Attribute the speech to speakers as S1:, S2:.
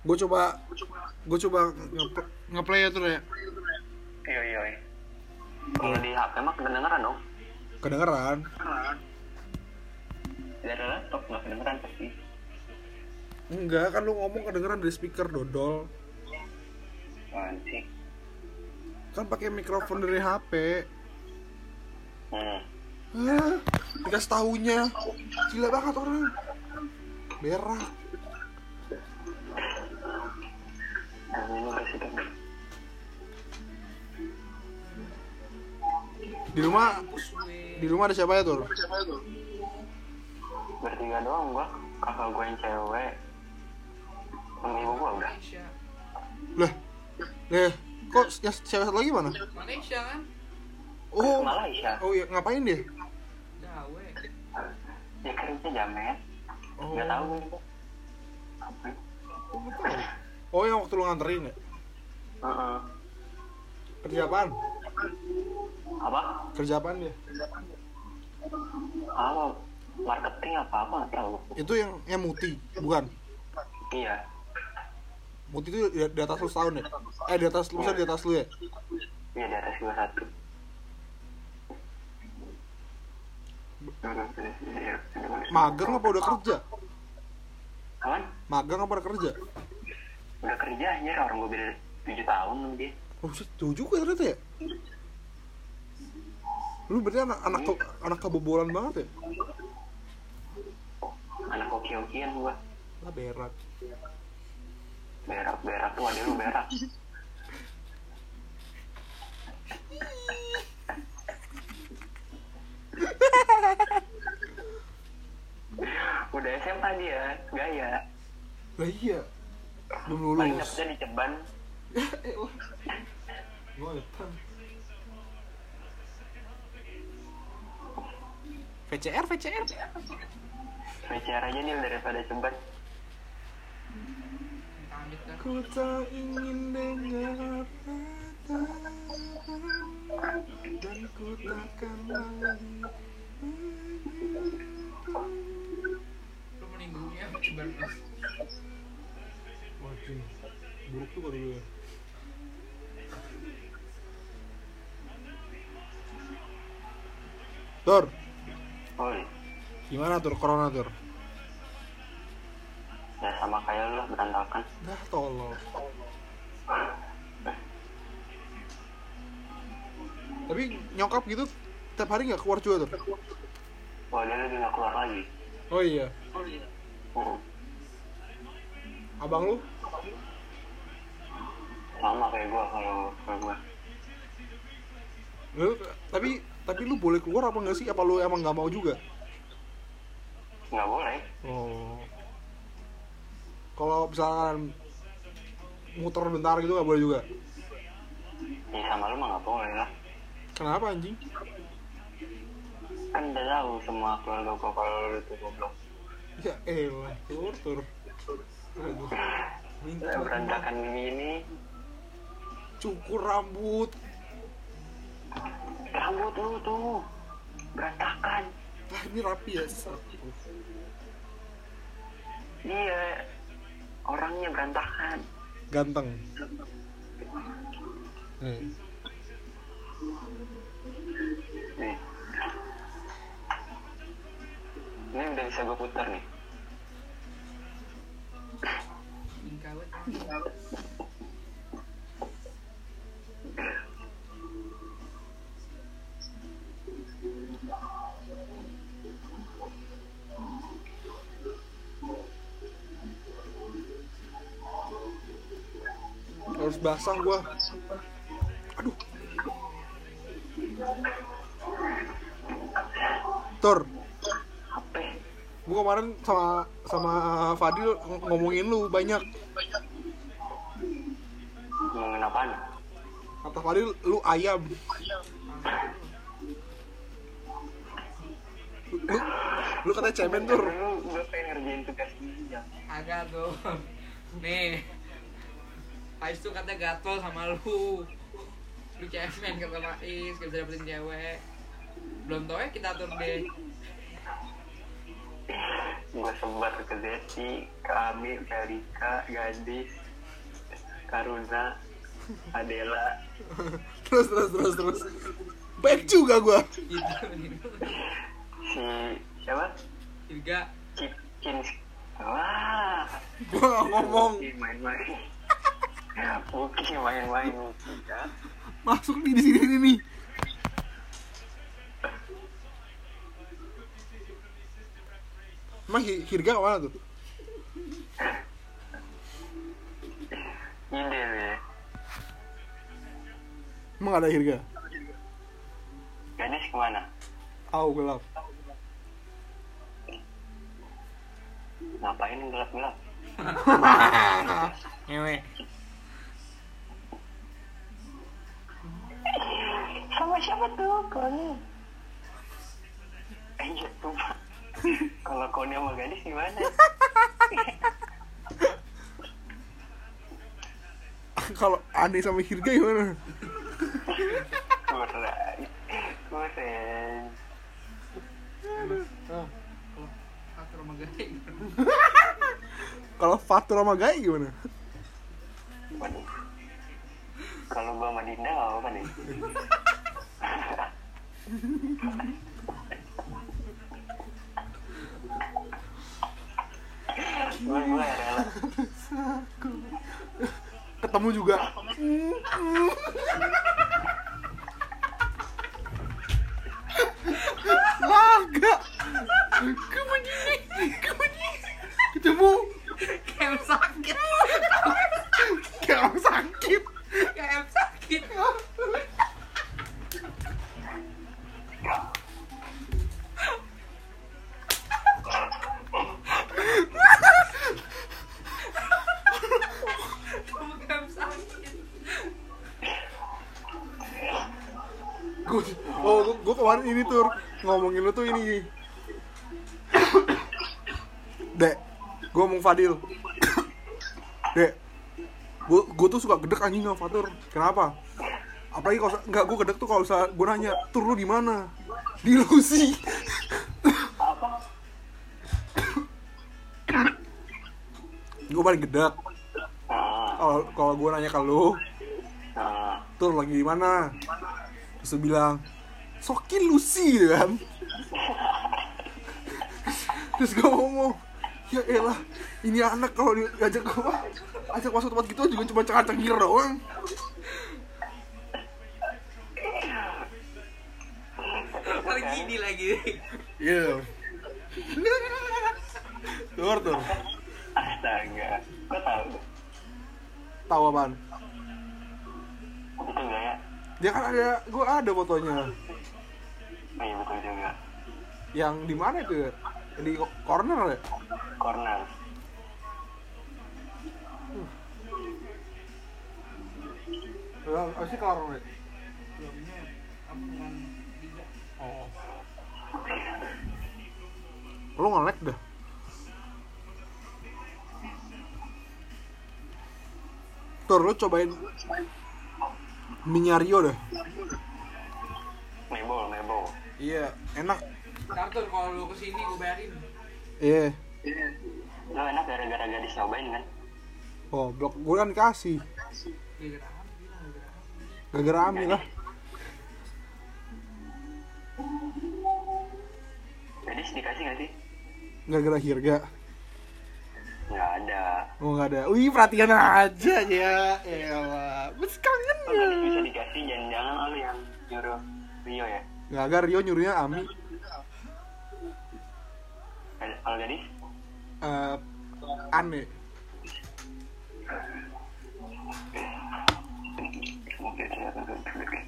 S1: gue coba gue coba nge- ngeplay ya tuh ya
S2: Iya iya. iya. Kalau di HP mah kedengeran dong.
S1: kedengeran
S2: Dari laptop nggak kedengeran pasti.
S1: enggak kan lu ngomong kedengeran dari speaker dodol
S2: Mancing.
S1: kan pakai mikrofon dari HP
S2: Hmm.
S1: Hah? dikasih tahunya gila banget orang berak
S2: Dan ini udah sih kan.
S1: di rumah di rumah ada siapa ya tuh
S2: Bertiga doang gua. Kakak gua yang cewek. Sama ibu gua udah.
S1: lah eh kok yang cewek satu lagi mana
S3: Malaysia kan?
S1: oh
S2: Malaysia.
S1: oh iya ngapain dia
S3: Gawe.
S2: Dia kerja jamet.
S1: oh
S2: Nggak tahu gua. Apa?
S1: oh yang waktu lu nganterin ya
S2: Heeh.
S1: kerja apaan
S2: Apa?
S1: kerja apaan dia
S2: Apa? Marketing apa apa nggak tahu.
S1: itu yang yang muti bukan
S2: Iya.
S1: muti itu di, di atas lu setahun ya eh di atas lu maksudnya di atas lu ya
S2: Iya di atas gua satu.
S1: magang apa udah kerja
S2: Kawan,
S1: magang apa udah kerja
S2: udah kerja aja orang gue beda 7 tahun sama dia.
S1: oh shit, jauh juga ya ternyata ya lu berarti anak anak ke, anak kebobolan banget ya
S2: Oh, Anak hoki-hokian gua.
S1: lah berak
S2: Berak-berak tuh ada lu berak. udah SMA dia, gaya.
S1: lah iya belum
S2: Paling
S1: lulus
S2: dapetnya di Ceban.
S1: Ngotan. VCR, VCR.
S2: Bicara aja nih daripada Ceban.
S3: Amit dah.
S1: Ku tak ingin dengar kata-kata, dan ku takkan lagi
S3: Lu meninggunya bernas.
S1: makin buruk tuh kali gue. Tur,
S2: Oi,
S1: gimana tur corona tur?
S2: ya sama kayak lu lah berantakan.
S1: Dah tolol. Tapi nyokap gitu tiap hari nggak keluar juga tuh.
S2: Wah dia lagi nggak keluar lagi. Oh,
S1: Oh iya.
S2: Mm-mm.
S1: Abang lu?
S2: Sama kayak gua kalau kalau gua.
S1: Lu tapi tapi lu boleh keluar apa nggak sih? Apa lu emang nggak mau juga?
S2: Nggak boleh.
S1: Oh. Kalau misalkan muter bentar gitu nggak boleh juga.
S2: Ya sama lu mah nggak boleh lah.
S1: Kenapa anjing?
S2: Kan udah tahu semua keluarga gua kalau lu tuh goblok.
S1: Ya elah, tur tur. Aduh. Minta maaf.
S2: Eh, Berantakan begini.
S1: cukur rambut.
S2: Rambut lu tuh berantakan.
S1: Wah, ini rapi ya. Sat.
S2: Iya. Orangnya berantakan.
S1: ganteng. Eh,
S2: Nih. Ini udah bisa gua putar nih.
S3: Bingkai wet.
S1: harus basah gua. Aduh. Tur,
S2: Apa? ya?
S1: gua kemarin sama sama Fadil ng- ngomongin lu banyak.
S2: Ngomongin apaan?
S1: Kata Fadil lu ayam. Lu, lu kata cemen tur.
S2: Lu gua pengen ngerjain tugas ini jam.
S3: Agak tuh. Nih. Pais tuh katanya gatel sama lu. Lu cemen kata Pais, gak bisa dapetin cewek. Belum tau ya kita atur deh.
S2: gue sebar ke Zeti, ke Amir, ke Rika, Gadis, Karuna, Adela,
S1: terus terus terus terus baik juga gua
S3: Gitu, gitu.
S2: si siapa?
S3: Juga
S2: Cikin. Wah,
S1: gua nggak ngomong
S2: Buki Ah. main-main. Buki main-main. Buki, ya.
S1: masuk nih di sini sini nih Emang Hi- Hirga kemana tuh?
S2: Ide deh.
S1: Emang ada Hirga?
S2: Gadis kemana?
S1: Au gelap
S2: Ngapain gelap-gelap?
S3: ngewe.
S2: Sama siapa tuh Koni? Eh, iya tuh Pak. Kalau Koni sama gadis gimana?
S1: Kalau Andi sama Hirga gimana?
S2: Kurang. Kurang.
S1: Ah.
S3: Faktor sama garing.
S1: Kalau Fatur sama Gai gimana?
S2: Waduh. Kalau gua sama Dinda gak apa-apa nih. Gue gue rela.
S1: Ketemu juga Laga Ketemu
S3: Kayak sakit.
S1: Kayak orang sakit
S3: Kayak sakit. Kamu kayak sakit.
S1: Gue, oh, gue, kemarin ini tur ngomongin lu tuh ini. Dek, gue ngomong Fadil. Dek, gue, gue tuh suka gedek anjing sama Fatur. Kenapa? Apalagi kalau nggak gue gedek tuh kalau misalnya gue nanya, tur lu di mana? Di Lucy. gue paling gedek.
S2: Ah,
S1: Kalau kalau gue nanya ke lu,
S2: ah.
S1: tur lagi di mana? Terus dia bilang, Soki Lucy gitu kan. Terus gue ngomong, ya elah, ini anak kalau diajak gue, ajak masuk tempat gitu juga cuma cengak-cengir doang.
S3: Paling gini lagi.
S1: Iya. Tur, tur.
S2: Astaga. Gue tau tuh.
S1: Tahu apaan?
S2: Itu gak ya?
S1: Dia kan ada, gue ada fotonya.
S2: Oh iya betul juga.
S1: Yang di mana itu ya? Di corner ya?
S2: Corner.
S1: Apa sih corner ya? Oh. Lu nge-lag dah. Tur, lu cobain Minyario dah.
S2: Mebol, mebol.
S1: Iya, enak.
S3: Ntar tuh kalau lu kesini gue bayarin.
S1: Iya.
S2: Lo enak gara-gara gadis nyobain kan?
S1: Oh, blok gue kan kasih.
S3: Gak
S1: Gara-gara
S3: gerah, gila, gak gerah.
S1: Ami lah.
S2: Gadis dikasih gak sih?
S1: Gara-gara Hirga.
S2: Gak ada.
S1: Oh, nggak ada. Wih, perhatian aja ya. Elah. Bes kangen
S2: Lo
S1: ya.
S2: gadis bisa dikasih jangan-jangan lo yang nyuruh Rio ya?
S1: Nggak ada, Rio nyuruhnya Ami.
S2: Gad- Kalau gadis?
S1: eh aneh.
S2: ya, Oke, saya akan tunjuk.